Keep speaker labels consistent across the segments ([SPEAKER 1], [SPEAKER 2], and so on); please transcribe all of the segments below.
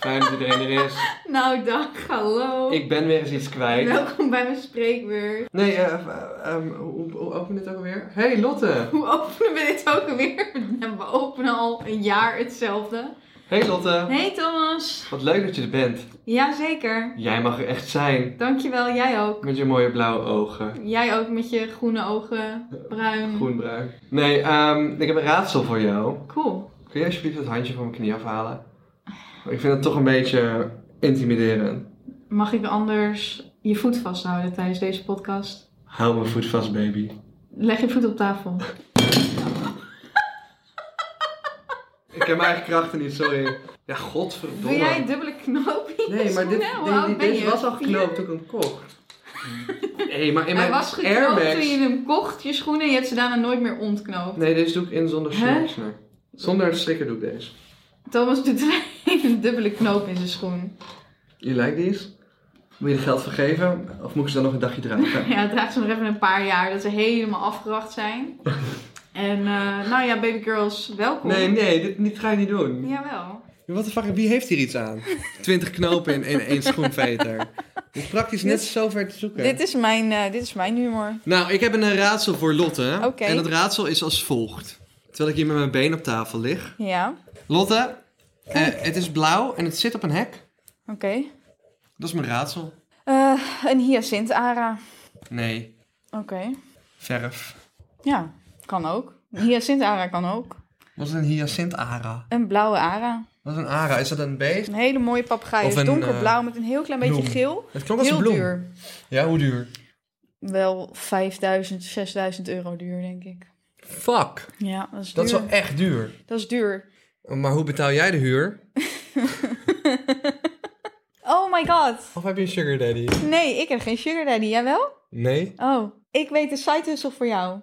[SPEAKER 1] Fijn dat iedereen er is.
[SPEAKER 2] Nou, dag, hallo.
[SPEAKER 1] Ik ben weer eens iets kwijt.
[SPEAKER 2] Welkom bij mijn spreekbeurt.
[SPEAKER 1] Nee, eh, eh, ehm, hoe, hoe open dit ook alweer? Hey Lotte!
[SPEAKER 2] Hoe openen we dit ook alweer? En We openen al een jaar hetzelfde.
[SPEAKER 1] Hey Lotte!
[SPEAKER 2] Hey Thomas.
[SPEAKER 1] Wat leuk dat je er bent.
[SPEAKER 2] Jazeker.
[SPEAKER 1] Jij mag er echt zijn.
[SPEAKER 2] Dankjewel, jij ook.
[SPEAKER 1] Met je mooie blauwe ogen.
[SPEAKER 2] Jij ook met je groene ogen, bruin.
[SPEAKER 1] Groenbruin. Nee, ehm, ik heb een raadsel voor jou.
[SPEAKER 2] Cool.
[SPEAKER 1] Kun je alsjeblieft dat handje van mijn knie afhalen? Ik vind het toch een beetje intimiderend.
[SPEAKER 2] Mag ik anders je voet vasthouden tijdens deze podcast?
[SPEAKER 1] Hou mijn voet vast, baby.
[SPEAKER 2] Leg je voet op tafel.
[SPEAKER 1] Ik ken mijn eigen krachten niet, sorry. Ja, godverdomme.
[SPEAKER 2] Wil jij dubbele knoopjes?
[SPEAKER 1] Nee, maar dit,
[SPEAKER 2] Dus Hoe
[SPEAKER 1] die- die-
[SPEAKER 2] oud ben
[SPEAKER 1] deze
[SPEAKER 2] je?
[SPEAKER 1] was al
[SPEAKER 2] Vier?
[SPEAKER 1] geknoopt toen ik hem kocht. Hmm. Nee, maar in
[SPEAKER 2] Hij
[SPEAKER 1] mijn
[SPEAKER 2] was
[SPEAKER 1] Air
[SPEAKER 2] geknoopt
[SPEAKER 1] Max.
[SPEAKER 2] toen je hem kocht, je schoenen, en je hebt ze daarna nooit meer ontknoopt.
[SPEAKER 1] Nee, deze doe ik in zonder
[SPEAKER 2] Hè?
[SPEAKER 1] snoersner. Zonder sticker doe ik deze.
[SPEAKER 2] Thomas doet er een dubbele knoop in zijn schoen.
[SPEAKER 1] Je lijkt iets. Moet je er geld voor geven? Of moet ik ze dan nog een dagje dragen?
[SPEAKER 2] Ja, het draagt ze nog even een paar jaar dat ze helemaal afgeracht zijn. En eh, nou ja, baby girls, welkom.
[SPEAKER 1] nee, nee, dit niet, ga je niet doen.
[SPEAKER 2] Jawel.
[SPEAKER 1] Wat de fuck, wie heeft hier iets aan? Twintig knopen in, in één schoenveter. Het is praktisch net zo ver te zoeken.
[SPEAKER 2] is mijn, eh, dit is mijn humor.
[SPEAKER 1] Nou, ik heb een eh, raadsel voor Lotte.
[SPEAKER 2] Oké.
[SPEAKER 1] En dat raadsel is als volgt. Terwijl ik hier met mijn been op tafel lig.
[SPEAKER 2] Ja,
[SPEAKER 1] Lotte, eh, het is blauw en het zit op een hek.
[SPEAKER 2] oké. Eh,
[SPEAKER 1] Dat is mijn raadsel.
[SPEAKER 2] een hyacintara.
[SPEAKER 1] Nee,
[SPEAKER 2] Oké.
[SPEAKER 1] verf.
[SPEAKER 2] Ja, kan ook. Een hyacintara kan ook.
[SPEAKER 1] Wat is een hyacintara?
[SPEAKER 2] Een blauwe ara.
[SPEAKER 1] Wat is een ara? Is dat een beest?
[SPEAKER 2] Een hele mooie papegaai.
[SPEAKER 1] Of
[SPEAKER 2] Is
[SPEAKER 1] een,
[SPEAKER 2] donkerblauw
[SPEAKER 1] eh,
[SPEAKER 2] met een heel klein beetje
[SPEAKER 1] bloem.
[SPEAKER 2] geel.
[SPEAKER 1] Het klonk als
[SPEAKER 2] Heel
[SPEAKER 1] een bloem.
[SPEAKER 2] duur.
[SPEAKER 1] Ja, hoe duur?
[SPEAKER 2] Wel 5000, 6000 euro duur, denk ik.
[SPEAKER 1] Fuck.
[SPEAKER 2] Ja, dat is duur.
[SPEAKER 1] Dat is wel echt duur.
[SPEAKER 2] Dat is duur.
[SPEAKER 1] Maar hoe betaal jij de huur?
[SPEAKER 2] Oh my god.
[SPEAKER 1] Of heb je een sugar daddy?
[SPEAKER 2] Nee, ik heb geen sugar daddy. Jij wel?
[SPEAKER 1] Nee.
[SPEAKER 2] Oh, ik weet de side hustle voor jou.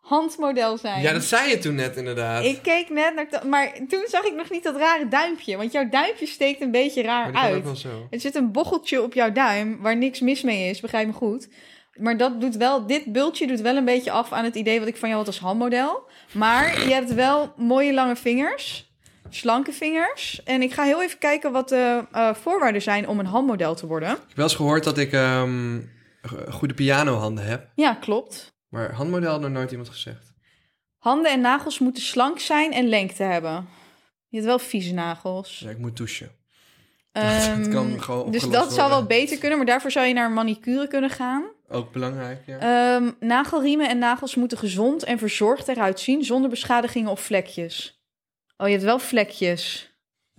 [SPEAKER 2] Handmodel zijn.
[SPEAKER 1] Ja, dat zei je toen net inderdaad.
[SPEAKER 2] Ik keek net naar... to- Maar toen zag ik nog niet dat rare duimpje. Want jouw duimpje steekt een beetje
[SPEAKER 1] maar
[SPEAKER 2] raar
[SPEAKER 1] die kan ook
[SPEAKER 2] uit.
[SPEAKER 1] wel zo.
[SPEAKER 2] Er zit een bocheltje op jouw duim waar niks mis mee is, begrijp me goed. Maar dat doet wel, dit bultje doet wel een beetje af aan het idee wat ik van jou had als handmodel. Maar je hebt wel mooie lange vingers, slanke vingers. En ik ga heel even kijken wat de eh, voorwaarden zijn om een handmodel te worden.
[SPEAKER 1] Ik heb wel eens gehoord dat ik ehm, go- goede pianohanden heb.
[SPEAKER 2] Ja, klopt.
[SPEAKER 1] Maar handmodel had nog nooit iemand gezegd.
[SPEAKER 2] Handen en nagels moeten slank zijn en lengte hebben. Je hebt wel vieze nagels.
[SPEAKER 1] Dus ik moet douchen.
[SPEAKER 2] Ehm,
[SPEAKER 1] dat kan gewoon
[SPEAKER 2] dus dat
[SPEAKER 1] opgelost
[SPEAKER 2] zou wel
[SPEAKER 1] worden.
[SPEAKER 2] beter kunnen, maar daarvoor zou je naar een manicure kunnen gaan.
[SPEAKER 1] Ook belangrijk, ja.
[SPEAKER 2] Ehm, nagelriemen en nagels moeten gezond en verzorgd eruit zien zonder beschadigingen of vlekjes. Oh, je hebt wel vlekjes.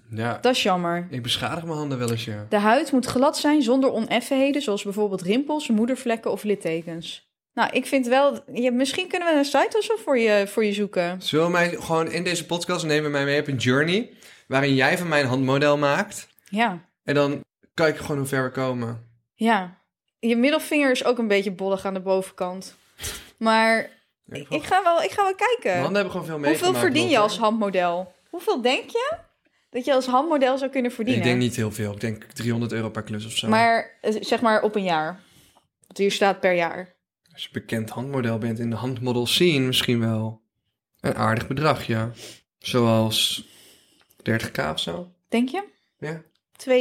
[SPEAKER 1] ja.
[SPEAKER 2] Dat is jammer.
[SPEAKER 1] Ik beschadig mijn handen wel eens, ja.
[SPEAKER 2] De huid moet glad zijn zonder oneffenheden, zoals bijvoorbeeld rimpels, moedervlekken of littekens. Nou, ik vind wel, je, misschien kunnen we een site of zo voor je, voor je zoeken.
[SPEAKER 1] Zullen we mij gewoon in deze podcast nemen mij mee op een journey... waarin jij van mij een handmodel maakt...
[SPEAKER 2] Ja,
[SPEAKER 1] en dan kijken gewoon hoe ver we komen.
[SPEAKER 2] ja. Je middelvinger is ook een beetje bollig aan de bovenkant. Maar
[SPEAKER 1] Ja,
[SPEAKER 2] ik ga wel, ik ga wel
[SPEAKER 1] Mijn
[SPEAKER 2] kijken.
[SPEAKER 1] handen hebben gewoon veel meegemaakt. eh,
[SPEAKER 2] Hoeveel verdien je
[SPEAKER 1] Lotte.
[SPEAKER 2] als handmodel? Hoeveel denk je dat je als handmodel zou kunnen verdienen?
[SPEAKER 1] Ik denk niet heel veel. Ik denk 300 euro per klus of zo.
[SPEAKER 2] Maar eh, zeg maar op een jaar. Want hier staat per jaar.
[SPEAKER 1] Als je bekend handmodel bent in de handmodel scene misschien wel een aardig bedrag, ja. Zoals 30k of zo.
[SPEAKER 2] Denk je?
[SPEAKER 1] Ja.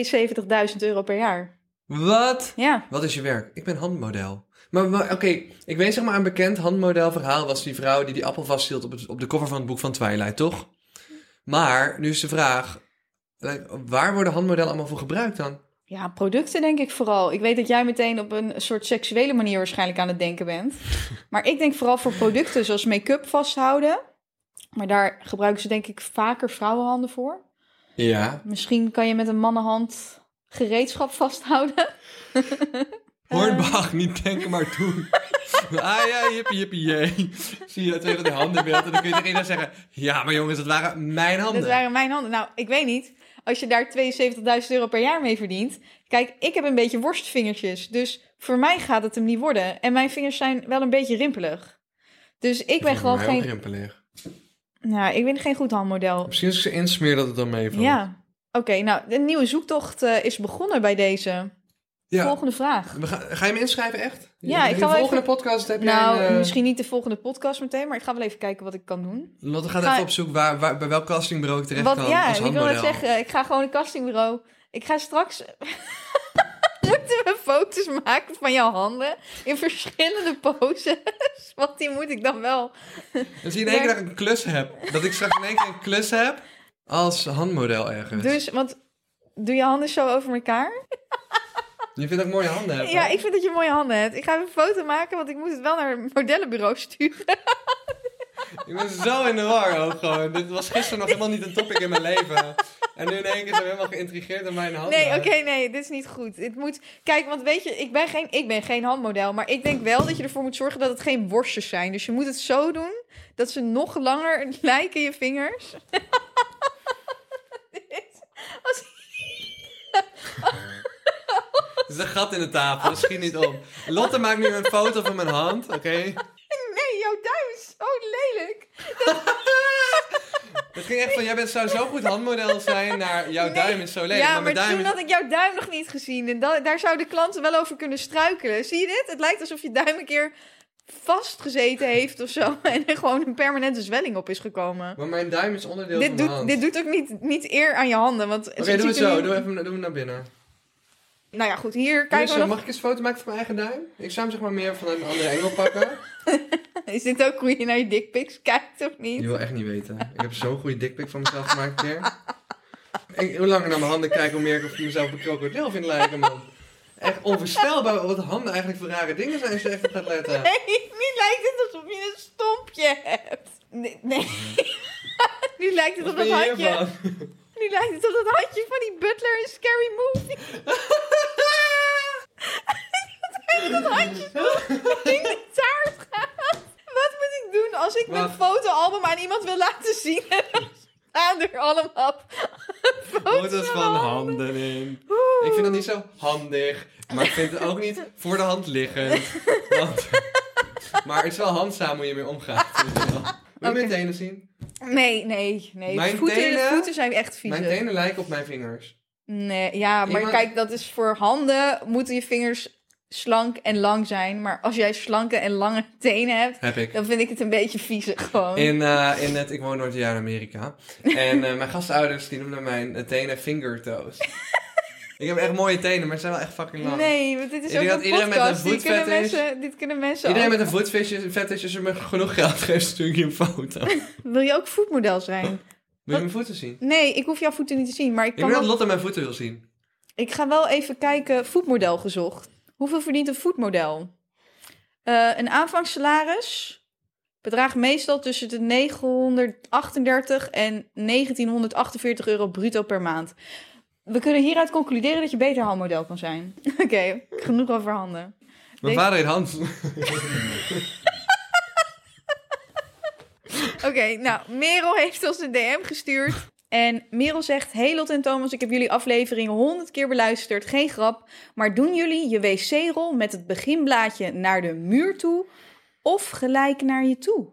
[SPEAKER 2] 72.000 euro per jaar.
[SPEAKER 1] Wat?
[SPEAKER 2] Ja.
[SPEAKER 1] Wat is je werk? Ik ben handmodel. Maar, maar, oké, ik weet zeg maar een bekend handmodelverhaal was die vrouw die die appel vasthield op, het, op de cover van het boek van Twilight, toch? Maar nu is de vraag, like, waar worden handmodellen allemaal voor gebruikt dan?
[SPEAKER 2] Ja, producten denk ik vooral. Ik weet dat jij meteen op een soort seksuele manier waarschijnlijk aan het denken bent. Maar ik denk vooral voor producten zoals make-up vasthouden. Maar daar gebruiken ze denk ik vaker vrouwenhanden voor.
[SPEAKER 1] Ja.
[SPEAKER 2] Misschien kan je met een mannenhand gereedschap vasthouden.
[SPEAKER 1] Hornbach, niet denken, maar doen. Eh. ah ja, jippie, jippie, jee. Zie je dat tegen de handen beeld en dan kun je tegen iedereen zeggen... Ja, maar jongens, dat waren mijn handen.
[SPEAKER 2] Dat waren mijn handen. Nou, ik weet niet. als je daar 72.000 euro per jaar mee verdient. Kijk, ik heb een beetje worstvingertjes. Dus voor mij gaat het hem niet worden. En mijn vingers zijn wel een beetje rimpelig. Dus ik ben gewoon geen.
[SPEAKER 1] rimpelig.
[SPEAKER 2] Nou, ik ben geen goed handmodel.
[SPEAKER 1] Misschien als ik ze insmeer dat het dan meevalt.
[SPEAKER 2] Ja. Oké, nou, de nieuwe zoektocht eh, is begonnen bij deze.
[SPEAKER 1] Ja.
[SPEAKER 2] Volgende vraag.
[SPEAKER 1] We gaan, ga je me inschrijven, echt?
[SPEAKER 2] Ja, ik
[SPEAKER 1] In
[SPEAKER 2] ga
[SPEAKER 1] de
[SPEAKER 2] wel
[SPEAKER 1] volgende podcast heb
[SPEAKER 2] Nou,
[SPEAKER 1] jij een... eh,
[SPEAKER 2] misschien niet de volgende podcast meteen, maar ik ga wel even kijken wat ik kan doen.
[SPEAKER 1] Lotte gaat
[SPEAKER 2] ga-
[SPEAKER 1] even op zoek waar, waar, bij welk castingbureau ik terecht
[SPEAKER 2] Wat,
[SPEAKER 1] kan
[SPEAKER 2] ja,
[SPEAKER 1] als
[SPEAKER 2] ik wil net
[SPEAKER 1] handmodel.
[SPEAKER 2] zeggen, ik ga gewoon een castingbureau. Ik ga straks. Moeten we foto's maken van jouw handen in verschillende poses? Want die moet ik dan wel.
[SPEAKER 1] Als je in één keer
[SPEAKER 2] Ja.
[SPEAKER 1] dat ik een klus heb. Dat ik straks in één keer een klus heb als handmodel ergens.
[SPEAKER 2] Dus, want doe je handen zo over elkaar?
[SPEAKER 1] Je vindt ook mooie handen hebben.
[SPEAKER 2] Ja, ik vind dat je mooie handen hebt. Ik ga even een foto maken, want ik moet het wel naar een modellenbureau sturen.
[SPEAKER 1] Ik ben zo in de war ook gewoon. Dit was gisteren nog helemaal niet een topic in mijn leven. En nu in één keer zijn we helemaal geïntrigeerd door mijn handen.
[SPEAKER 2] Nee, oké, nee, dit is niet goed. Dit moet... Kijk, want weet je, ik ben, geen, ik ben geen handmodel. Maar ik denk wel dat je ervoor moet zorgen dat het geen worstjes zijn. Dus je moet het zo doen dat ze nog langer lijken je vingers. Dit- Als...
[SPEAKER 1] Er is een gat in de tafel, dat schiet niet op. Lotte maakt nu een foto van mijn hand, oké?
[SPEAKER 2] Nee, jouw duim is zo lelijk.
[SPEAKER 1] Het ging echt van, jij bent, zou zo goed handmodel zijn naar jouw
[SPEAKER 2] Nee.
[SPEAKER 1] duim is zo lelijk.
[SPEAKER 2] ja,
[SPEAKER 1] maar
[SPEAKER 2] maar,
[SPEAKER 1] mijn duim
[SPEAKER 2] toen
[SPEAKER 1] is...
[SPEAKER 2] had ik jouw duim nog niet gezien. En da- daar zouden klanten wel over kunnen struikelen. Zie je dit? Het lijkt alsof je duim een keer vastgezeten heeft of zo. En er gewoon een permanente zwelling op is gekomen.
[SPEAKER 1] Maar mijn duim is onderdeel van
[SPEAKER 2] Dit
[SPEAKER 1] mijn
[SPEAKER 2] doet,
[SPEAKER 1] hand.
[SPEAKER 2] dit doet ook niet, niet eer aan je handen. want
[SPEAKER 1] Oké,
[SPEAKER 2] het
[SPEAKER 1] doe het
[SPEAKER 2] ziet er
[SPEAKER 1] zo.
[SPEAKER 2] nu-
[SPEAKER 1] Doe even doe hem naar binnen.
[SPEAKER 2] Nou ja, goed, hier
[SPEAKER 1] Doe het
[SPEAKER 2] kijken
[SPEAKER 1] zo.
[SPEAKER 2] we nog.
[SPEAKER 1] Mag ik eens een foto maken van mijn eigen duim? Ik zou hem zeg maar meer vanuit een andere engel pakken.
[SPEAKER 2] Is dit ook hoe je naar je dickpics kijkt of niet?
[SPEAKER 1] Je wil echt niet weten. Ik heb zo'n goede dikpik van mezelf gemaakt een keer. En hoe langer ik naar mijn handen kijk, hoe meer ik op mezelf een krokodil vind lijken, man. Echt onvoorstelbaar wat handen eigenlijk voor rare dingen zijn als je echt op gaat letten.
[SPEAKER 2] Nee, nu lijkt het alsof je een stompje hebt. Nee. nee. nu lijkt het
[SPEAKER 1] Wat
[SPEAKER 2] op
[SPEAKER 1] ben
[SPEAKER 2] dat
[SPEAKER 1] je
[SPEAKER 2] handje.
[SPEAKER 1] hiervan?
[SPEAKER 2] Nu lijkt het op dat handje van die butler in Scary Movie. dat handje zo in de taart gaat. Wat moet ik doen als ik mijn
[SPEAKER 1] Wacht.
[SPEAKER 2] fotoalbum aan iemand wil laten zien? En dan staan er allemaal
[SPEAKER 1] Foto's van handen in. Ik vind dat niet zo handig, maar ik vind het ook niet voor de hand liggend. Want- maar het is wel handzaam hoe je mee omgaat. Wil je mijn
[SPEAKER 2] Oké.
[SPEAKER 1] tenen zien?
[SPEAKER 2] Nee, nee, nee.
[SPEAKER 1] Mijn
[SPEAKER 2] voeten,
[SPEAKER 1] tenen-
[SPEAKER 2] voeten zijn echt vies.
[SPEAKER 1] Mijn tenen lijken op mijn vingers.
[SPEAKER 2] Nee, ja, maar
[SPEAKER 1] Iemand-
[SPEAKER 2] kijk, dat is voor handen moeten je vingers slank en lang zijn. Maar als jij slanke en lange tenen hebt,
[SPEAKER 1] Heb ik.
[SPEAKER 2] dan vind ik het een beetje viezig gewoon.
[SPEAKER 1] In, eh, in het, ik woon nooit een jaar in Amerika. En eh, mijn gastouders die noemden mijn eh, tenen fingertoes. ik heb echt mooie tenen, maar ze zijn wel echt fucking lang.
[SPEAKER 2] Nee, want dit is
[SPEAKER 1] Ik denk
[SPEAKER 2] ook
[SPEAKER 1] dat
[SPEAKER 2] een
[SPEAKER 1] iedereen met een
[SPEAKER 2] podcast. dit,
[SPEAKER 1] voetvet
[SPEAKER 2] kunnen
[SPEAKER 1] is.
[SPEAKER 2] mensen, dit kunnen mensen
[SPEAKER 1] Iedereen
[SPEAKER 2] ook.
[SPEAKER 1] met een voetfetish fetish, als je me genoeg geld geeft, stuur ik je een foto. Wil je
[SPEAKER 2] Wil je ook voetmodel zijn?
[SPEAKER 1] mijn voeten zien?
[SPEAKER 2] Nee, ik hoef jouw voeten niet te zien. Maar ik,
[SPEAKER 1] Ik
[SPEAKER 2] kan
[SPEAKER 1] denk dat
[SPEAKER 2] wel-
[SPEAKER 1] Lotte mijn voeten wil zien.
[SPEAKER 2] ik ga wel even kijken. Voetmodel gezocht. Hoeveel verdient een voetmodel? Eh, een aanvangssalaris bedraagt meestal tussen de 938 en 1948 euro bruto per maand. We kunnen hieruit concluderen dat je beter handmodel kan zijn. Oké, genoeg over handen.
[SPEAKER 1] Mijn
[SPEAKER 2] Denk-
[SPEAKER 1] vader heet Hans.
[SPEAKER 2] Oké, nou, Merel heeft ons een DM gestuurd. En Merel zegt: Hey Lot en Thomas, ik heb jullie aflevering 100 keer beluisterd. Geen grap. Maar doen jullie je wc-rol met het beginblaadje naar de muur toe of gelijk naar je toe?
[SPEAKER 1] Naar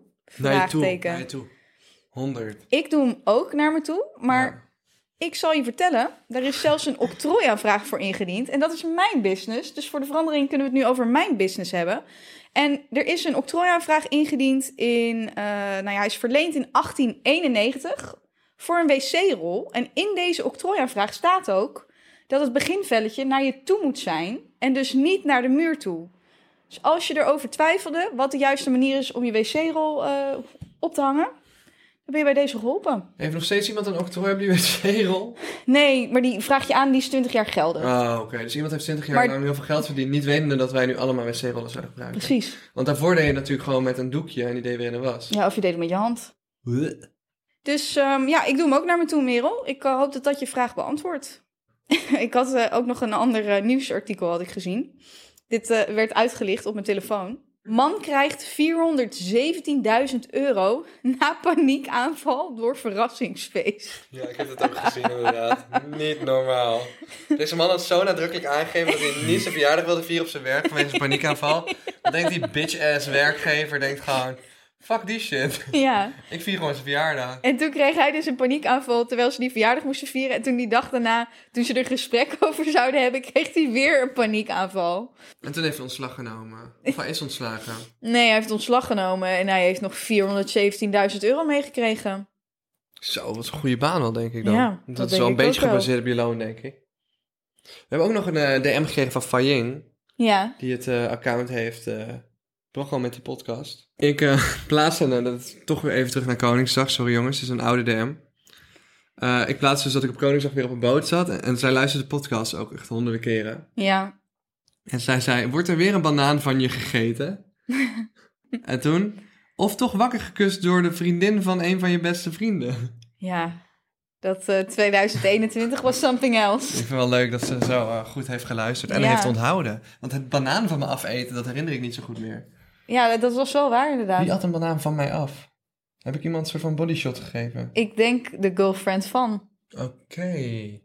[SPEAKER 1] je toe.
[SPEAKER 2] Vraagteken.
[SPEAKER 1] Naar je toe. 100.
[SPEAKER 2] Ik doe hem ook naar me toe, maar
[SPEAKER 1] Ja.
[SPEAKER 2] ik zal je vertellen: daar is zelfs een octrooiaanvraag voor ingediend. En dat is mijn business. Dus voor de verandering kunnen we het nu over mijn business hebben. En er is een octrooiaanvraag ingediend in, eh, nou ja, hij is verleend in 1891 voor een wc-rol. En in deze octrooiaanvraag staat ook dat het beginvelletje naar je toe moet zijn en dus niet naar de muur toe. Dus als je erover twijfelde wat de juiste manier is om je wc-rol eh, op te hangen, dan ben je bij deze geholpen.
[SPEAKER 1] Heeft nog steeds iemand een octrooi op die wc-rol?
[SPEAKER 2] Nee, maar die vraag je aan, die is 20 jaar geldig.
[SPEAKER 1] Oh, oké. Dus iemand heeft 20 jaar
[SPEAKER 2] Maar-
[SPEAKER 1] lang heel veel geld verdiend, niet wetende dat wij nu allemaal wc-rollen zouden gebruiken.
[SPEAKER 2] Precies.
[SPEAKER 1] Want daarvoor deed je het natuurlijk gewoon met een doekje en die deed weer in de was.
[SPEAKER 2] Ja, of je deed het met je hand.
[SPEAKER 1] Bleh.
[SPEAKER 2] Dus ehm, ja, ik doe hem ook naar me toe, Merel. Ik eh, hoop dat dat je vraag beantwoordt. ik had eh, ook nog een ander eh, nieuwsartikel had ik gezien. Dit eh, werd uitgelicht op mijn telefoon. Man krijgt 417.000 euro na paniekaanval door verrassingsfeest.
[SPEAKER 1] Ja, ik heb het ook gezien inderdaad. Niet normaal. Deze man had zo nadrukkelijk aangegeven dat hij niet zijn verjaardag wilde vieren op zijn werk vanwege zijn paniekaanval. Dan denkt die bitch-ass werkgever, denkt gewoon, fuck die shit.
[SPEAKER 2] Ja.
[SPEAKER 1] Ik vier gewoon zijn verjaardag.
[SPEAKER 2] En toen kreeg hij dus een paniekaanval terwijl ze die verjaardag moesten vieren. En toen die dag daarna, toen ze er gesprek over zouden hebben, kreeg hij weer een paniekaanval.
[SPEAKER 1] En toen heeft hij ontslag genomen. Of hij is ontslagen.
[SPEAKER 2] Nee, hij heeft ontslag genomen en hij heeft nog 417.000 euro meegekregen.
[SPEAKER 1] Zo, wat een goede baan al, denk ik dan.
[SPEAKER 2] Ja,
[SPEAKER 1] dat,
[SPEAKER 2] dat
[SPEAKER 1] is
[SPEAKER 2] denk
[SPEAKER 1] wel een
[SPEAKER 2] ik ook
[SPEAKER 1] beetje
[SPEAKER 2] wel.
[SPEAKER 1] gebaseerd op je loon, denk ik. We hebben ook nog een eh, DM gekregen van Faying.
[SPEAKER 2] Ja.
[SPEAKER 1] die het eh, account heeft. eh toch al met die podcast. Ik eh plaatste, nou, dat is toch weer even terug naar Koningsdag. Sorry jongens, het is een oude DM. Eh, ik plaatste dus dat ik op Koningsdag weer op een boot zat. En, en zij luisterde de podcast ook echt honderden keren.
[SPEAKER 2] Ja.
[SPEAKER 1] En zij zei, wordt er weer een banaan van je gegeten? en toen, of toch wakker gekust door de vriendin van een van je beste vrienden.
[SPEAKER 2] Ja. Dat eh, 2021 was something
[SPEAKER 1] Ik
[SPEAKER 2] else.
[SPEAKER 1] vind het wel leuk dat ze zo eh, goed heeft geluisterd. En
[SPEAKER 2] Ja.
[SPEAKER 1] heeft onthouden. Want het banaan van me afeten, dat herinner ik niet zo goed meer.
[SPEAKER 2] Ja, dat was wel waar inderdaad.
[SPEAKER 1] Wie at een banaan van mij af? Heb ik iemand een soort van bodyshot gegeven?
[SPEAKER 2] Ik denk de girlfriend van.
[SPEAKER 1] Oké,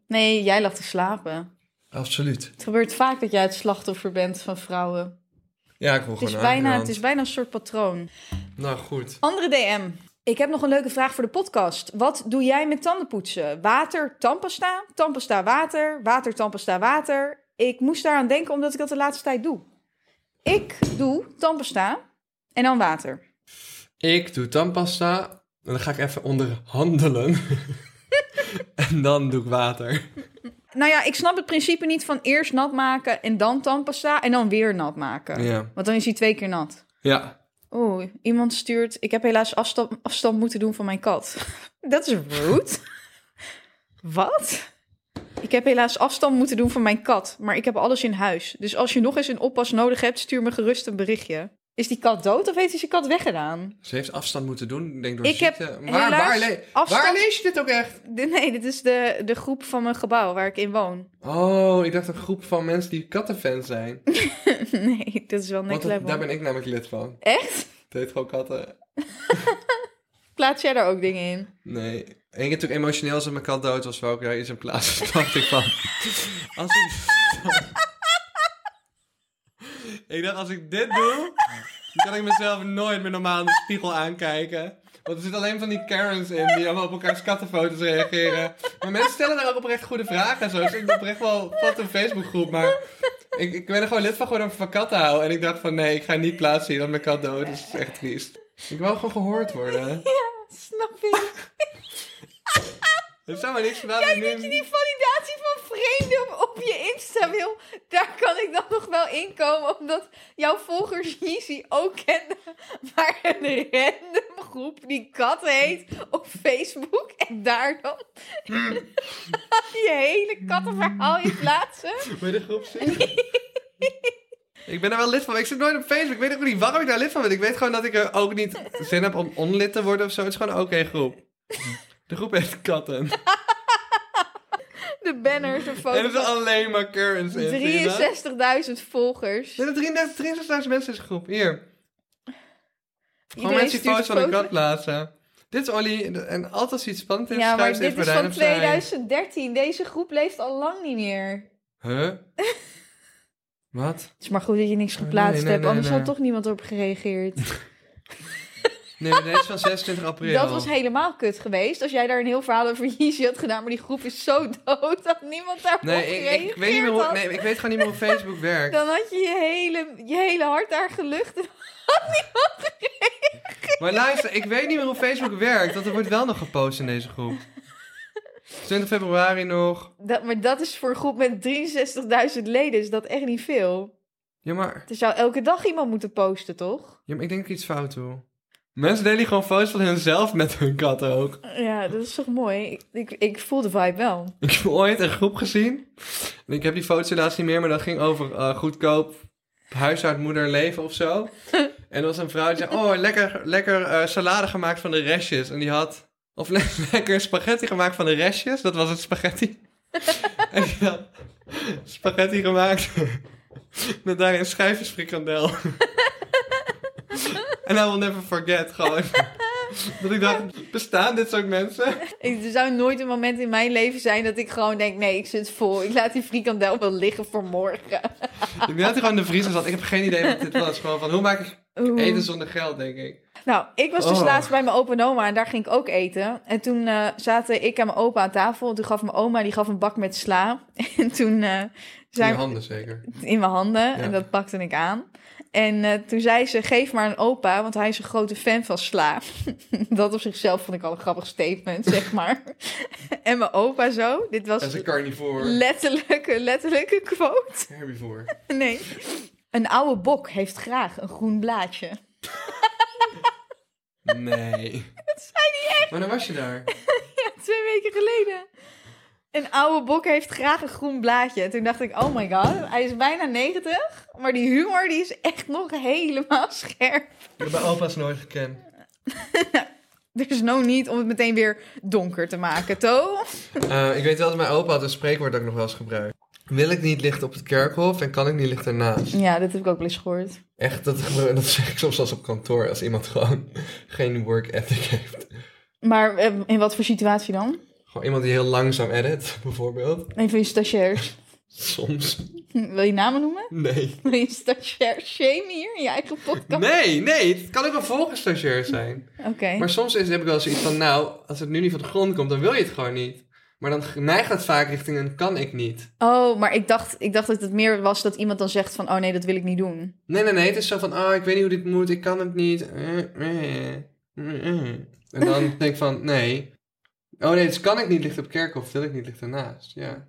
[SPEAKER 2] Nee, jij lag te slapen.
[SPEAKER 1] absoluut.
[SPEAKER 2] Het gebeurt vaak dat jij het slachtoffer bent van vrouwen.
[SPEAKER 1] Ja, ik wil
[SPEAKER 2] Het
[SPEAKER 1] gewoon
[SPEAKER 2] is, bijna, het is bijna een soort patroon.
[SPEAKER 1] Nou goed.
[SPEAKER 2] Andere DM. Ik heb nog een leuke vraag voor de podcast. Wat doe jij met tandenpoetsen? Water, tandpasta, tandpasta, water, water, tandpasta, water. Ik moest daaraan denken omdat ik dat de laatste tijd doe. Ik doe tandpasta en dan water.
[SPEAKER 1] Ik doe tandpasta en dan ga ik even onderhandelen. en dan doe ik water.
[SPEAKER 2] Nou ja, ik snap het principe niet van eerst nat maken en dan tandpasta en dan weer nat maken.
[SPEAKER 1] Ja.
[SPEAKER 2] Want dan is hij twee keer nat.
[SPEAKER 1] Ja.
[SPEAKER 2] Oeh, iemand stuurt. Ik heb helaas afstand, afstand moeten doen van mijn kat. Dat is rude. Wat? Ik heb helaas afstand moeten doen van mijn kat, maar ik heb alles in huis. Dus als je nog eens een oppas nodig hebt, stuur me gerust een berichtje. Is die kat dood of heeft hij zijn kat weggedaan?
[SPEAKER 1] Ze heeft afstand moeten doen, ik denk door
[SPEAKER 2] Ik heb
[SPEAKER 1] ziekte. waar,
[SPEAKER 2] helaas
[SPEAKER 1] waar, le-
[SPEAKER 2] afstand-
[SPEAKER 1] waar lees je dit ook echt?
[SPEAKER 2] De- nee, dit is de, de groep van mijn gebouw waar ik in woon.
[SPEAKER 1] Oh, ik dacht een groep van mensen die kattenfan zijn.
[SPEAKER 2] nee, dat is wel
[SPEAKER 1] Want
[SPEAKER 2] next
[SPEAKER 1] dat-
[SPEAKER 2] level.
[SPEAKER 1] daar ben ik namelijk lid van.
[SPEAKER 2] Echt?
[SPEAKER 1] Het heet gewoon katten.
[SPEAKER 2] Plaats jij daar ook dingen in?
[SPEAKER 1] Nee. En ik heb natuurlijk emotioneel als mijn kat dood was, wou ik daar iets in plaatsen. dacht ik van... Als ik... ik dacht, als ik dit doe, dan kan ik mezelf nooit meer normaal in de spiegel aankijken. Want er zitten alleen van die Karens in die allemaal op elkaars kattenfoto's reageren. Maar mensen stellen daar ook oprecht goede vragen en zo. Dus ik ben oprecht wel wat een Facebookgroep, maar... Ik, ik ben er gewoon lid van geworden omdat ik van katten hou. En ik dacht van, nee, ik ga niet plaatsen hier dat mijn kat dood is. Dat is echt triest. Ik wil gewoon gehoord worden.
[SPEAKER 2] Ja, snap ik.
[SPEAKER 1] Het zou maar niks gedaan.
[SPEAKER 2] Kijk
[SPEAKER 1] ik
[SPEAKER 2] dat
[SPEAKER 1] nu-
[SPEAKER 2] je die validatie van vreemden op, op je Insta wil. Daar kan ik dan nog wel inkomen. Omdat jouw volgers Yeezy ook kennen. Maar een random groep die kat heet op Facebook. En daar dan je hele kattenverhaal in plaatsen.
[SPEAKER 1] Bij de groep zitten. ik ben er wel lid van, maar ik zit nooit op Facebook. Ik weet ook niet waarom ik daar lid van ben. Ik weet gewoon dat ik er ook niet zin heb om onlid te worden of zo. Het is gewoon een oké groep. De groep heeft katten.
[SPEAKER 2] De banners, de
[SPEAKER 1] en er
[SPEAKER 2] foto's.
[SPEAKER 1] zijn alleen maar Karens in. zie je dat?
[SPEAKER 2] 63.000 volgers.
[SPEAKER 1] Er zijn 33 33.000 mensen in zijn groep. Hier. Gewoon
[SPEAKER 2] Iedereen
[SPEAKER 1] mensen die
[SPEAKER 2] stuurt
[SPEAKER 1] foto's van een
[SPEAKER 2] foto's.
[SPEAKER 1] kat plaatsen. Dit is Olly. En altijd als iets spannend is,
[SPEAKER 2] Ja,
[SPEAKER 1] schuift
[SPEAKER 2] maar
[SPEAKER 1] ze even
[SPEAKER 2] dit is
[SPEAKER 1] Rijn
[SPEAKER 2] van
[SPEAKER 1] opzij.
[SPEAKER 2] 2013. Deze groep leeft al lang niet meer.
[SPEAKER 1] Huh? Wat?
[SPEAKER 2] Het is maar goed dat je niks
[SPEAKER 1] Oh, nee,
[SPEAKER 2] geplaatst
[SPEAKER 1] nee,
[SPEAKER 2] hebt,
[SPEAKER 1] nee,
[SPEAKER 2] anders
[SPEAKER 1] nee.
[SPEAKER 2] had toch niemand op gereageerd.
[SPEAKER 1] Nee, maar deze is van 26 april.
[SPEAKER 2] Dat was helemaal kut geweest. Als jij daar een heel verhaal over Yeezy had gedaan, maar die groep is zo dood dat niemand daarop
[SPEAKER 1] Nee, ik,
[SPEAKER 2] gereageerd
[SPEAKER 1] ik, weet niet meer hoe,
[SPEAKER 2] had.
[SPEAKER 1] nee, ik weet gewoon niet meer hoe Facebook werkt.
[SPEAKER 2] Dan had je je hele, je hele hart daar gelucht. en-
[SPEAKER 1] Maar luister, ik weet niet meer hoe Facebook werkt, want er wordt wel nog gepost in deze groep. 20 februari nog.
[SPEAKER 2] Dat, maar dat is voor een groep met 63.000 leden is dat echt niet veel.
[SPEAKER 1] Ja maar,
[SPEAKER 2] Er zou elke dag iemand moeten posten, toch?
[SPEAKER 1] ja, maar ik denk dat ik iets fout doe. Mensen delen gewoon foto's van hunzelf met hun kat ook.
[SPEAKER 2] Ja, dat is toch mooi? Ik, ik, ik voel de vibe wel.
[SPEAKER 1] Ik heb ooit een groep gezien. En ik heb die foto's helaas niet meer, maar dat ging over eh, goedkoop huishoudmoeder leven of zo. En er was een vrouw die zei, oh, lekker, lekker eh, salade gemaakt van de restjes. En die had, of le- lekker spaghetti gemaakt van de restjes. Dat was het spaghetti. en die had spaghetti gemaakt met daarin schijfjes frikandel. En I will never forget, gewoon. dat ik dacht, bestaan dit soort mensen?
[SPEAKER 2] Ik- Er zou nooit een moment in mijn leven zijn dat ik gewoon denk... nee, ik zit vol. Ik laat die frikandel wel liggen voor morgen.
[SPEAKER 1] ik dacht gewoon in de vriezer zat. Ik heb geen idee wat dit was. Gewoon van, hoe maak ik
[SPEAKER 2] Oeh.
[SPEAKER 1] eten zonder geld, denk ik.
[SPEAKER 2] Nou, ik was dus
[SPEAKER 1] Oh.
[SPEAKER 2] laatst bij mijn opa en oma en daar ging ik ook eten. En toen eh, zaten ik en mijn opa aan tafel. En toen gaf mijn oma, die gaf een bak met sla. En toen eh
[SPEAKER 1] In je
[SPEAKER 2] zijn
[SPEAKER 1] handen zeker.
[SPEAKER 2] in mijn handen
[SPEAKER 1] Ja.
[SPEAKER 2] en dat pakte ik aan. En eh, toen zei ze, geef maar een opa, want hij is een grote fan van sla. dat op zichzelf vond ik al een grappig statement, zeg maar. en mijn opa zo, dit was
[SPEAKER 1] Dat is een carnivore.
[SPEAKER 2] letterlijk, een letterlijke quote.
[SPEAKER 1] Herbivore.
[SPEAKER 2] nee. Een oude bok heeft graag een groen blaadje.
[SPEAKER 1] Nee. Dat zei niet echt. Maar dan was je daar.
[SPEAKER 2] Twee weken geleden. Een oude bok heeft graag een groen blaadje. En toen dacht ik, oh my god, hij is bijna 90. Maar die humor die is echt nog helemaal scherp.
[SPEAKER 1] Ik heb mijn opa's nooit gekend.
[SPEAKER 2] Er is no niet om het meteen weer donker te maken, To.
[SPEAKER 1] Eh, ik weet wel dat mijn opa had een spreekwoord dat ik nog wel eens gebruik. Wil ik niet licht op het kerkhof en kan ik niet licht ernaast.
[SPEAKER 2] Ja, dat heb ik ook wel eens gehoord.
[SPEAKER 1] Echt, dat, gebru- dat zeg ik soms als op kantoor. Als iemand gewoon geen work ethic heeft.
[SPEAKER 2] Maar eh, in wat voor situatie dan?
[SPEAKER 1] Gewoon iemand die heel langzaam edit, bijvoorbeeld.
[SPEAKER 2] Een van je stagiairs.
[SPEAKER 1] Soms.
[SPEAKER 2] Hm, Wil je namen noemen?
[SPEAKER 1] Nee.
[SPEAKER 2] Wil je stagiair shame hier in je eigen podcast?
[SPEAKER 1] Nee, nee. Het kan ook een volgenstagiair zijn.
[SPEAKER 2] Oké.
[SPEAKER 1] Maar soms is, heb ik wel zoiets van, nou, als het nu niet van de grond komt, dan wil je het gewoon niet. Maar dan g- neigt het vaak richting een kan ik niet.
[SPEAKER 2] Oh, maar ik dacht, ik dacht dat het meer was dat iemand dan zegt van... oh nee, dat wil ik niet doen.
[SPEAKER 1] Nee, nee, nee. Het is zo van, ah, ik weet niet hoe dit moet. Ik kan het niet. Eh, eh, eh, eh. En dan denk ik van, nee. Oh nee, dus kan ik niet ligt op kerkhof. Wil ik niet ligt ernaast. Ja.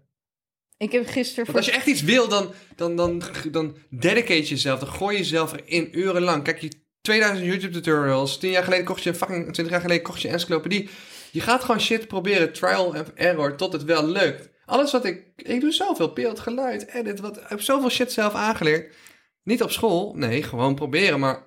[SPEAKER 2] Ik heb gisteren...
[SPEAKER 1] Want als je echt iets wil, dan, dan, dan, dan dedicate jezelf. Dan gooi jezelf erin urenlang. Kijk, je 2000 YouTube tutorials. 10 jaar geleden kocht je een fucking... 20 jaar geleden kocht je een encyclopedie. Je gaat gewoon shit proberen. Trial and error tot het wel lukt. Alles wat ik... Ik doe zoveel beeld, geluid, edit. Wat, ik heb zoveel shit zelf aangeleerd. Niet op school. Nee, gewoon proberen. Maar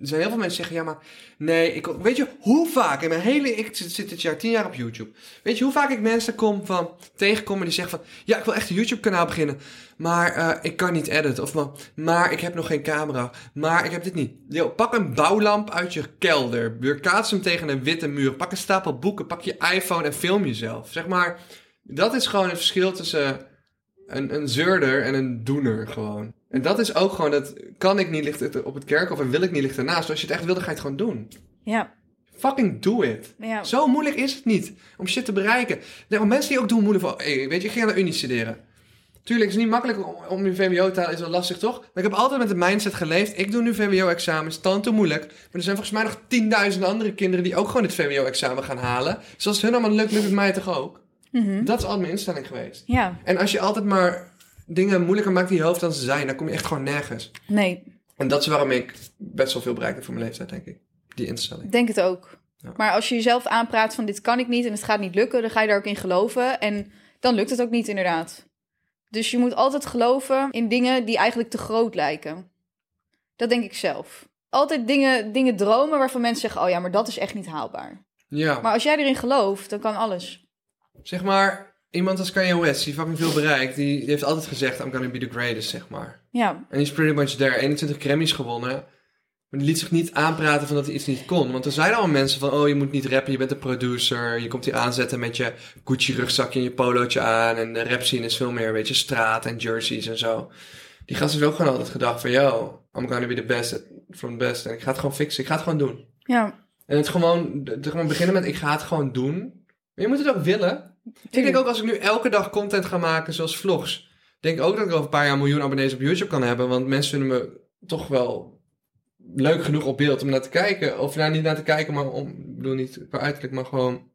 [SPEAKER 1] er zijn heel veel mensen die zeggen, ja, maar nee, ik, weet je hoe vaak in mijn hele, ik zit, zit dit jaar tien jaar op YouTube. Weet je hoe vaak ik mensen kom van, tegenkom en die zeggen van, ja, ik wil echt een YouTube kanaal beginnen, maar eh, ik kan niet editen. Of maar, maar ik heb nog geen camera, maar ik heb dit niet. Yo, pak een bouwlamp uit je kelder, weerkaats hem tegen een witte muur, pak een stapel boeken, pak je iPhone en film jezelf. Zeg maar, dat is gewoon het verschil tussen een, een zeurder en een doener gewoon. En dat is ook gewoon, dat kan ik niet licht op het kerkhof en wil ik niet licht ernaast. Als je het echt wilde, ga je het gewoon doen.
[SPEAKER 2] Ja,
[SPEAKER 1] Fucking do it.
[SPEAKER 2] ja.
[SPEAKER 1] Zo moeilijk is het niet om shit te bereiken. Nee, om mensen die ook doen moeilijk van, hey, weet je, ik ging naar de Unie studeren. Tuurlijk, het is niet makkelijk om, om je VWO-taal, is wel lastig toch? Maar ik heb altijd met de mindset geleefd, ik doe nu VWO-examens, dan te moeilijk. Maar er zijn volgens mij nog tienduizend andere kinderen die ook gewoon het VWO-examen gaan halen. Dus als het hun allemaal lukt, lukt het mij toch ook?
[SPEAKER 2] Mhm.
[SPEAKER 1] Dat is altijd mijn instelling geweest.
[SPEAKER 2] Ja,
[SPEAKER 1] En als je altijd maar dingen moeilijker maakt in je hoofd dan ze zijn, dan kom je echt gewoon nergens.
[SPEAKER 2] nee.
[SPEAKER 1] En dat is waarom ik best wel veel bereikt heb voor mijn leeftijd, denk ik. Die instelling.
[SPEAKER 2] Ik denk het ook.
[SPEAKER 1] Ja.
[SPEAKER 2] Maar als je jezelf aanpraat van dit kan ik niet en het gaat niet lukken, dan ga je daar ook in geloven. En dan lukt het ook niet, inderdaad. Dus je moet altijd geloven in dingen die eigenlijk te groot lijken. Dat denk ik zelf. Altijd dingen, dingen dromen waarvan mensen zeggen: oh ja, maar dat is echt niet haalbaar.
[SPEAKER 1] Ja.
[SPEAKER 2] Maar als jij erin gelooft, dan kan alles.
[SPEAKER 1] Zeg maar, iemand als Kanye West, die fucking veel bereikt, die, die heeft altijd gezegd, I'm gonna be the greatest, zeg maar.
[SPEAKER 2] Ja,
[SPEAKER 1] En die is pretty much there. 21 Grammys gewonnen. Maar die liet zich niet aanpraten van dat hij iets niet kon. Want er zeiden allemaal mensen van, oh, je moet niet rappen, je bent een producer. Je komt hier aanzetten met je Gucci-rugzakje en je polootje aan. En de rap scene is veel meer, weet je, straat en jerseys en zo. Die gasten hebben ook gewoon altijd gedacht van, yo, I'm gonna be the best at- from the best. En ik ga het gewoon fixen, ik ga het gewoon doen.
[SPEAKER 2] ja.
[SPEAKER 1] En het gewoon, het gewoon beginnen met, ik ga het gewoon doen. Maar je moet het ook willen. Ik denk ook als ik nu elke dag content ga maken, zoals vlogs. Denk ook dat ik over een paar jaar een miljoen abonnees op YouTube kan hebben. Want mensen vinden me toch wel leuk genoeg op beeld om naar te kijken. Of nou niet naar te kijken, maar om, ik bedoel niet qua uiterlijk, maar gewoon.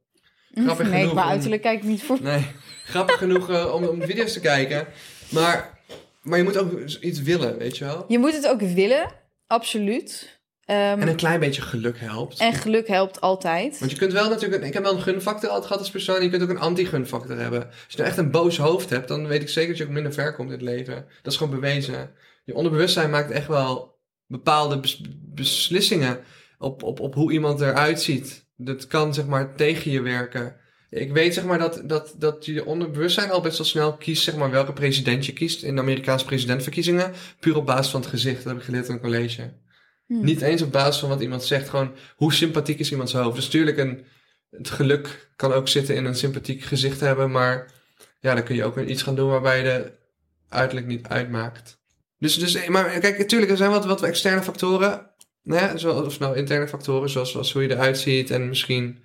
[SPEAKER 1] grappig
[SPEAKER 2] Mhm. nee,
[SPEAKER 1] genoeg
[SPEAKER 2] maar
[SPEAKER 1] om-
[SPEAKER 2] uiterlijk kijk ik niet voor.
[SPEAKER 1] Nee, grappig genoeg eh, om, om video's te kijken. Maar, maar je moet ook iets willen, weet je wel.
[SPEAKER 2] Je moet het ook willen, absoluut. Ehm,
[SPEAKER 1] En
[SPEAKER 2] en,
[SPEAKER 1] een klein beetje geluk helpt.
[SPEAKER 2] geluk helpt altijd.
[SPEAKER 1] Want je kunt wel natuurlijk... Ik heb wel een gunfactor altijd gehad als persoon. en Je kunt ook een anti-gunfactor hebben. Als je nou echt een boos hoofd hebt... dan weet ik zeker dat je ook minder ver komt in het leven. Dat is gewoon bewezen. Je onderbewustzijn maakt echt wel bepaalde bes- beslissingen... Op, op, op hoe iemand eruit ziet. Dat kan zeg maar tegen je werken. Ik weet zeg maar dat, dat, dat je onderbewustzijn al best wel snel kiest... zeg maar welke president je kiest in de Amerikaanse presidentverkiezingen... puur op basis van het gezicht. Dat heb ik geleerd in een college.
[SPEAKER 2] Hm.
[SPEAKER 1] Niet eens op basis van wat iemand zegt, gewoon hoe sympathiek is iemands hoofd. Dus tuurlijk, een, het geluk kan ook zitten in een sympathiek gezicht hebben, maar ja, dan kun je ook iets gaan doen waarbij je de uiterlijk niet uitmaakt. Dus, dus maar kijk, natuurlijk, er zijn wat, wat externe factoren, nou ja, zoals, of nou interne factoren, zoals, zoals hoe je eruit ziet en misschien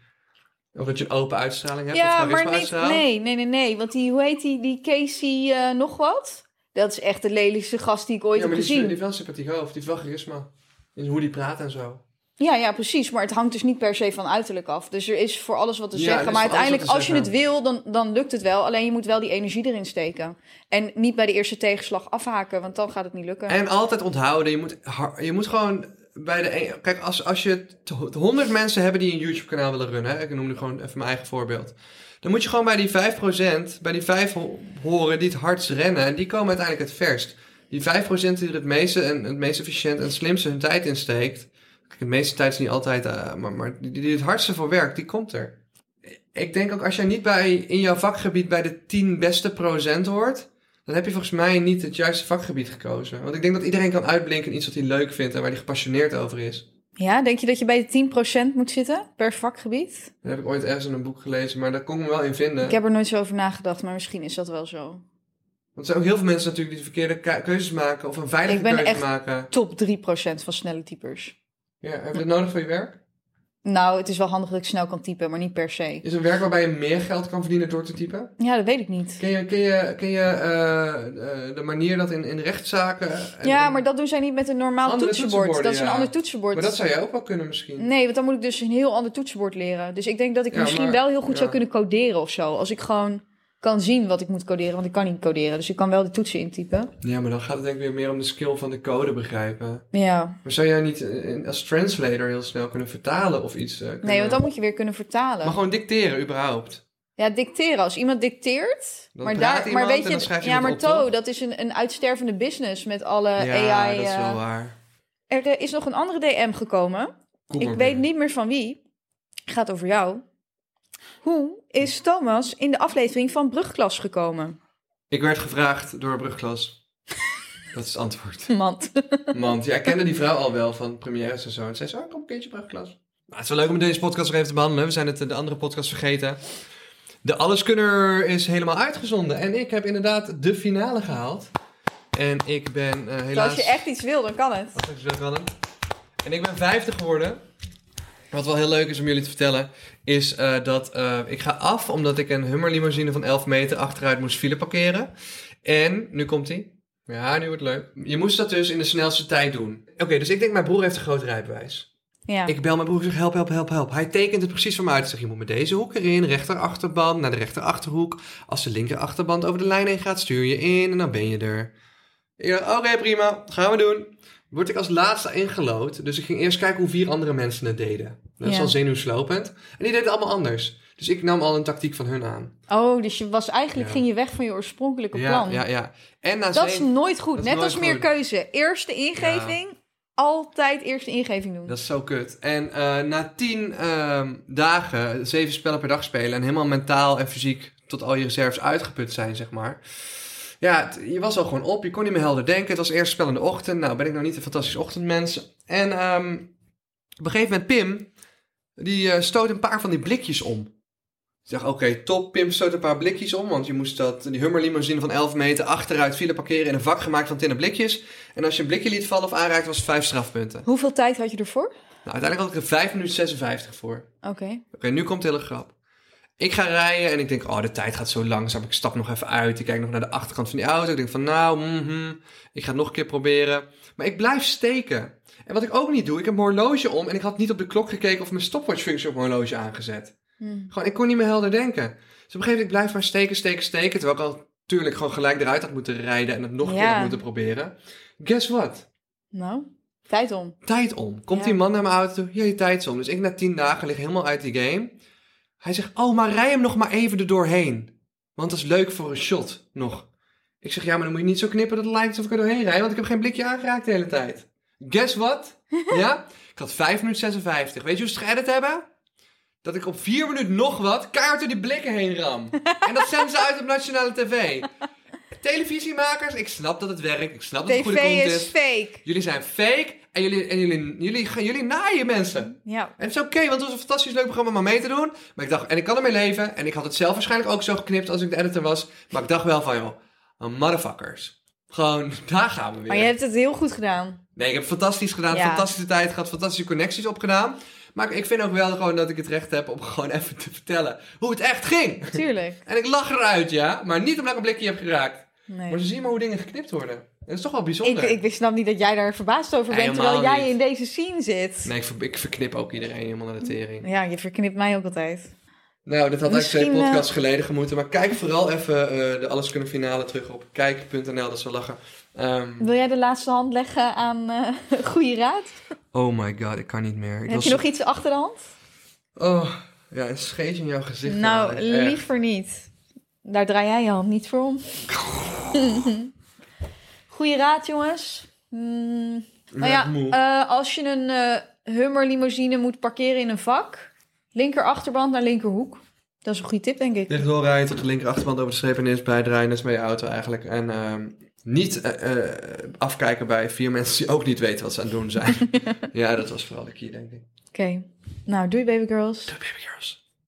[SPEAKER 1] of dat je een open uitstraling hebt of
[SPEAKER 2] Ja,
[SPEAKER 1] charisma
[SPEAKER 2] maar niet,
[SPEAKER 1] uitstraling.
[SPEAKER 2] nee, nee, nee, nee. Want die, hoe heet die, die Casey eh, nog wat? Dat is echt de lelijkste gast die ik ooit
[SPEAKER 1] ja,
[SPEAKER 2] heb
[SPEAKER 1] maar die, die
[SPEAKER 2] gezien.
[SPEAKER 1] heeft wel een sympathiek hoofd, die heeft wel charisma. In hoe die praat en zo.
[SPEAKER 2] Ja, ja, precies. Maar het hangt dus niet per se van uiterlijk af. Dus er is voor alles wat te
[SPEAKER 1] Ja, er
[SPEAKER 2] zeggen.
[SPEAKER 1] is
[SPEAKER 2] Maar
[SPEAKER 1] voor alles wat
[SPEAKER 2] uiteindelijk,
[SPEAKER 1] te
[SPEAKER 2] als je het
[SPEAKER 1] zeggen.
[SPEAKER 2] wil, dan, dan lukt het wel. Alleen je moet wel die energie erin steken. En niet bij de eerste tegenslag afhaken, want dan gaat het niet lukken.
[SPEAKER 1] En altijd onthouden. Je moet, har- je moet gewoon bij de. een- Kijk, als, als je t- 100 mensen hebben die een YouTube-kanaal willen runnen. hè, Ik noem nu gewoon even mijn eigen voorbeeld. Dan moet je gewoon bij die 5%, bij die 5 ho- horen die het hardst rennen. En die komen uiteindelijk het verst. Die 5% die er het meeste en het meest efficiënt en het slimste hun tijd in steekt. Kijk, de meeste tijd is niet altijd, eh, maar, maar die, die het hardste voor werkt, die komt er. Ik denk ook als jij niet bij, in jouw vakgebied bij de 10 beste procent hoort, dan heb je volgens mij niet het juiste vakgebied gekozen. Want ik denk dat iedereen kan uitblinken in iets wat hij leuk vindt en waar hij gepassioneerd over is.
[SPEAKER 2] Ja, denk je dat je bij de 10% moet zitten per vakgebied?
[SPEAKER 1] Dat heb ik ooit ergens in een boek gelezen, maar daar kon ik me wel in vinden.
[SPEAKER 2] Ik heb er nooit zo over nagedacht, maar misschien is dat wel zo.
[SPEAKER 1] Want er zijn ook heel veel mensen natuurlijk die de verkeerde ke- keuzes maken of een veilige
[SPEAKER 2] Ik ben
[SPEAKER 1] keuze
[SPEAKER 2] echt-
[SPEAKER 1] maken.
[SPEAKER 2] Top 3% van snelle typers.
[SPEAKER 1] Ja, heb je dat nodig voor je werk?
[SPEAKER 2] Nou, het is wel handig dat ik snel kan typen, maar niet per se.
[SPEAKER 1] Is een werk waarbij je meer geld kan verdienen door te typen?
[SPEAKER 2] Ja, dat weet ik niet.
[SPEAKER 1] Ken je, ken je, ken je eh, eh, de manier dat in, in rechtszaken... en-
[SPEAKER 2] Ja, maar dat doen zij niet met een normaal
[SPEAKER 1] Andere
[SPEAKER 2] toetsenbord. Dat is een
[SPEAKER 1] toetsenborden, ja.
[SPEAKER 2] ander toetsenbord.
[SPEAKER 1] maar dat zou jij ook wel kunnen misschien.
[SPEAKER 2] Nee, want dan moet ik dus een heel ander toetsenbord leren. Dus ik denk dat ik
[SPEAKER 1] Ja,
[SPEAKER 2] misschien
[SPEAKER 1] maar-
[SPEAKER 2] wel heel goed
[SPEAKER 1] ja.
[SPEAKER 2] zou kunnen coderen of zo. Als ik gewoon kan zien wat ik moet coderen. Want ik kan niet coderen, dus ik kan wel de toetsen intypen.
[SPEAKER 1] Ja, maar dan gaat het denk ik weer meer om de skill van de code begrijpen.
[SPEAKER 2] Ja.
[SPEAKER 1] Maar zou jij niet eh, als translator heel snel kunnen vertalen of iets? eh, kunnen-
[SPEAKER 2] Nee, want dan moet je weer kunnen vertalen.
[SPEAKER 1] Maar gewoon dicteren, überhaupt.
[SPEAKER 2] Ja, dicteren. Als iemand dicteert.
[SPEAKER 1] Dan
[SPEAKER 2] maar
[SPEAKER 1] praat
[SPEAKER 2] daar,
[SPEAKER 1] iemand
[SPEAKER 2] maar weet
[SPEAKER 1] en dan schrijf je
[SPEAKER 2] ja,
[SPEAKER 1] het
[SPEAKER 2] maar
[SPEAKER 1] op, toch?
[SPEAKER 2] To, dat is een, een uitstervende business met alle
[SPEAKER 1] ja,
[SPEAKER 2] AI.
[SPEAKER 1] dat is wel
[SPEAKER 2] eh,
[SPEAKER 1] waar.
[SPEAKER 2] er eh, is nog een andere DM gekomen.
[SPEAKER 1] Kom
[SPEAKER 2] Ik
[SPEAKER 1] maar
[SPEAKER 2] weet
[SPEAKER 1] weer.
[SPEAKER 2] niet meer van wie. Gaat over jou. Hoe is Thomas in de aflevering van Brugklas gekomen?
[SPEAKER 1] Ik werd gevraagd door Brugklas. dat is het antwoord.
[SPEAKER 2] Man.
[SPEAKER 1] Want ja, ik kende die vrouw al wel van premières en zo. En zei ze, oh, kom een keertje brugklas. Maar het is wel leuk om deze podcast nog even te behandelen. We zijn het eh, de andere podcast vergeten. De Alleskunner is helemaal uitgezonden. En ik heb inderdaad de finale gehaald. En ik ben eh,
[SPEAKER 2] Dus
[SPEAKER 1] helaas...
[SPEAKER 2] Als je echt iets wil, dan kan het.
[SPEAKER 1] Wat heb je dat wel aan? En ik ben vijfde geworden. Wat wel heel leuk is om jullie te vertellen, is eh, dat eh, ik ga af omdat ik een Hummer limousine van 11 meter achteruit moest file parkeren. En, nu komt ie. Ja, nu wordt het leuk. Je moest dat dus in de snelste tijd doen. Oké, dus ik denk mijn broer heeft een groot rijbewijs.
[SPEAKER 2] Ja.
[SPEAKER 1] Ik bel mijn broer en zeg help, help, help, help. Hij tekent het precies voor me uit. Ik zeg, je moet met deze hoek erin, rechter achterband, naar de rechter achterhoek. Als de linker achterband over de lijn heen gaat, stuur je in en dan ben je er. Ik dacht, oké, prima, gaan we doen. Word ik als laatste ingelood, dus ik ging eerst kijken hoe vier andere mensen het deden. Dat is
[SPEAKER 2] Ja.
[SPEAKER 1] al zenuwslopend. En die deden het allemaal anders. Dus ik nam al een tactiek van hun aan.
[SPEAKER 2] Oh, dus je was eigenlijk
[SPEAKER 1] Ja.
[SPEAKER 2] ging je weg van je oorspronkelijke
[SPEAKER 1] Ja,
[SPEAKER 2] plan.
[SPEAKER 1] ja, ja. En na
[SPEAKER 2] Dat is
[SPEAKER 1] zeven-
[SPEAKER 2] nooit goed.
[SPEAKER 1] Dat is
[SPEAKER 2] Net
[SPEAKER 1] nooit
[SPEAKER 2] als meer
[SPEAKER 1] goed.
[SPEAKER 2] keuze. Eerste ingeving. Altijd eerste ingeving doen.
[SPEAKER 1] Dat is zo kut. En eh, na tien ehm, dagen, zeven spellen per dag spelen en helemaal mentaal en fysiek tot al je reserves uitgeput zijn, zeg maar. Ja, het- je was al gewoon op. Je kon niet meer helder denken. Het was eerst spel in de ochtend. Nou, ben ik nog niet een fantastisch ochtendmens. En ehm, op een gegeven moment Pim, die eh, stoot een paar van die blikjes om. Ik dacht, oké, top. Pim stoot een paar blikjes om. Want je moest dat, die Hummer limousine van 11 meter achteruit file parkeren in een vak gemaakt van tinnen blikjes. En als je een blikje liet vallen of aanraakte, was het vijf strafpunten.
[SPEAKER 2] Hoeveel tijd had je ervoor?
[SPEAKER 1] Nou, uiteindelijk had ik er 5 minuten 56 voor. Oké,
[SPEAKER 2] Oké.
[SPEAKER 1] nu komt de hele grap. Ik ga rijden en ik denk, oh, de tijd gaat zo langzaam. Ik stap nog even uit. Ik kijk nog naar de achterkant van die auto. Ik denk van, nou, mhm, ik ga het nog een keer proberen. Maar ik blijf steken. En wat ik ook niet doe, ik heb mijn horloge om... en ik had niet op de klok gekeken of mijn stopwatchfunctie op mijn horloge aangezet.
[SPEAKER 2] Hm.
[SPEAKER 1] Gewoon, ik kon niet meer helder denken. Dus op een gegeven moment, ik blijf maar steken, steken, steken... terwijl ik al natuurlijk gewoon gelijk eruit had moeten rijden... en het nog een keer
[SPEAKER 2] Ja.
[SPEAKER 1] had moeten proberen. Guess what?
[SPEAKER 2] Nou, tijd om.
[SPEAKER 1] tijd om. Komt
[SPEAKER 2] Ja.
[SPEAKER 1] die man naar mijn auto toe, ja, je tijd is om. Dus ik na tien dagen lig helemaal uit die game. Hij zegt, oh, maar rij hem nog maar even er doorheen. Want dat is leuk voor een shot, nog. Ik zeg, ja, maar dan moet je niet zo knippen dat het lijkt alsof ik er doorheen rijd, want ik heb geen blikje aangeraakt de hele tijd. Guess what? ja? Ik had 5 minuten 56. Weet je hoe ze het geëdit hebben? Dat ik op 4 minuten nog wat kaart door die blikken heen ram. en dat zenden ze uit op nationale tv. Televisiemakers, ik snap dat het werkt. Ik snap dat het
[SPEAKER 2] TV
[SPEAKER 1] goede content
[SPEAKER 2] is fake.
[SPEAKER 1] Jullie zijn fake. En jullie, en jullie, jullie, gaan jullie naaien mensen.
[SPEAKER 2] Ja.
[SPEAKER 1] En het is oké, want het was een fantastisch leuk programma om aan mee te doen. Maar ik dacht, en ik kan ermee leven. En ik had het zelf waarschijnlijk ook zo geknipt als ik de editor was. Maar ik dacht wel van, joh, oh, motherfuckers. Gewoon, daar gaan we weer.
[SPEAKER 2] Maar je hebt het heel goed gedaan.
[SPEAKER 1] Nee, ik heb het fantastisch gedaan.
[SPEAKER 2] Ja.
[SPEAKER 1] Fantastische tijd gehad. Fantastische connecties opgedaan. Maar ik vind ook wel gewoon dat ik het recht heb om gewoon even te vertellen hoe het echt ging.
[SPEAKER 2] Tuurlijk.
[SPEAKER 1] En ik lach eruit, ja. Maar niet omdat ik een blikje heb geraakt. Maar
[SPEAKER 2] Nee.
[SPEAKER 1] ze zien maar hoe dingen geknipt worden. En dat is toch wel
[SPEAKER 2] Ik,
[SPEAKER 1] bijzonder.
[SPEAKER 2] ik snap niet dat jij daar verbaasd over
[SPEAKER 1] Nee,
[SPEAKER 2] bent, terwijl
[SPEAKER 1] helemaal
[SPEAKER 2] jij
[SPEAKER 1] niet.
[SPEAKER 2] in deze scene zit.
[SPEAKER 1] Nee, ik, ver- ik verknip ook iedereen helemaal naar de tering.
[SPEAKER 2] Ja, je verknipt mij ook altijd.
[SPEAKER 1] Nou, dat had eigenlijk
[SPEAKER 2] Misschien,
[SPEAKER 1] twee
[SPEAKER 2] eh,
[SPEAKER 1] podcasts geleden gemoeten. Maar kijk vooral even eh, de Alles Kunnen Finale terug op kijk.nl. Dat ze lachen. Ehm,
[SPEAKER 2] Wil jij de laatste hand leggen aan eh goede raad?
[SPEAKER 1] oh my god, ik kan niet meer. Ik
[SPEAKER 2] Heb
[SPEAKER 1] was-
[SPEAKER 2] je nog iets achter de hand?
[SPEAKER 1] Oh, ja, een scheetje in jouw gezicht.
[SPEAKER 2] nou,
[SPEAKER 1] Echt.
[SPEAKER 2] liever niet. Daar draai jij je hand niet voor om. Goeie raad, jongens. Hmm, nou
[SPEAKER 1] Ik
[SPEAKER 2] ja,
[SPEAKER 1] ben moe.
[SPEAKER 2] eh, als je een eh Hummer limousine moet parkeren in een vak, linker achterband naar linkerhoek. Dat is een goede tip, denk ik.
[SPEAKER 1] Licht doorrijden tot de linkerachterband over de streep en eerst bijdraaien. Dat is dus met je auto eigenlijk. En ehm, niet eh, eh, afkijken bij vier mensen die ook niet weten wat ze aan het doen zijn. ja, dat was vooral de key, denk ik.
[SPEAKER 2] Oké. Nou, doei, baby girls.
[SPEAKER 1] Baby girls.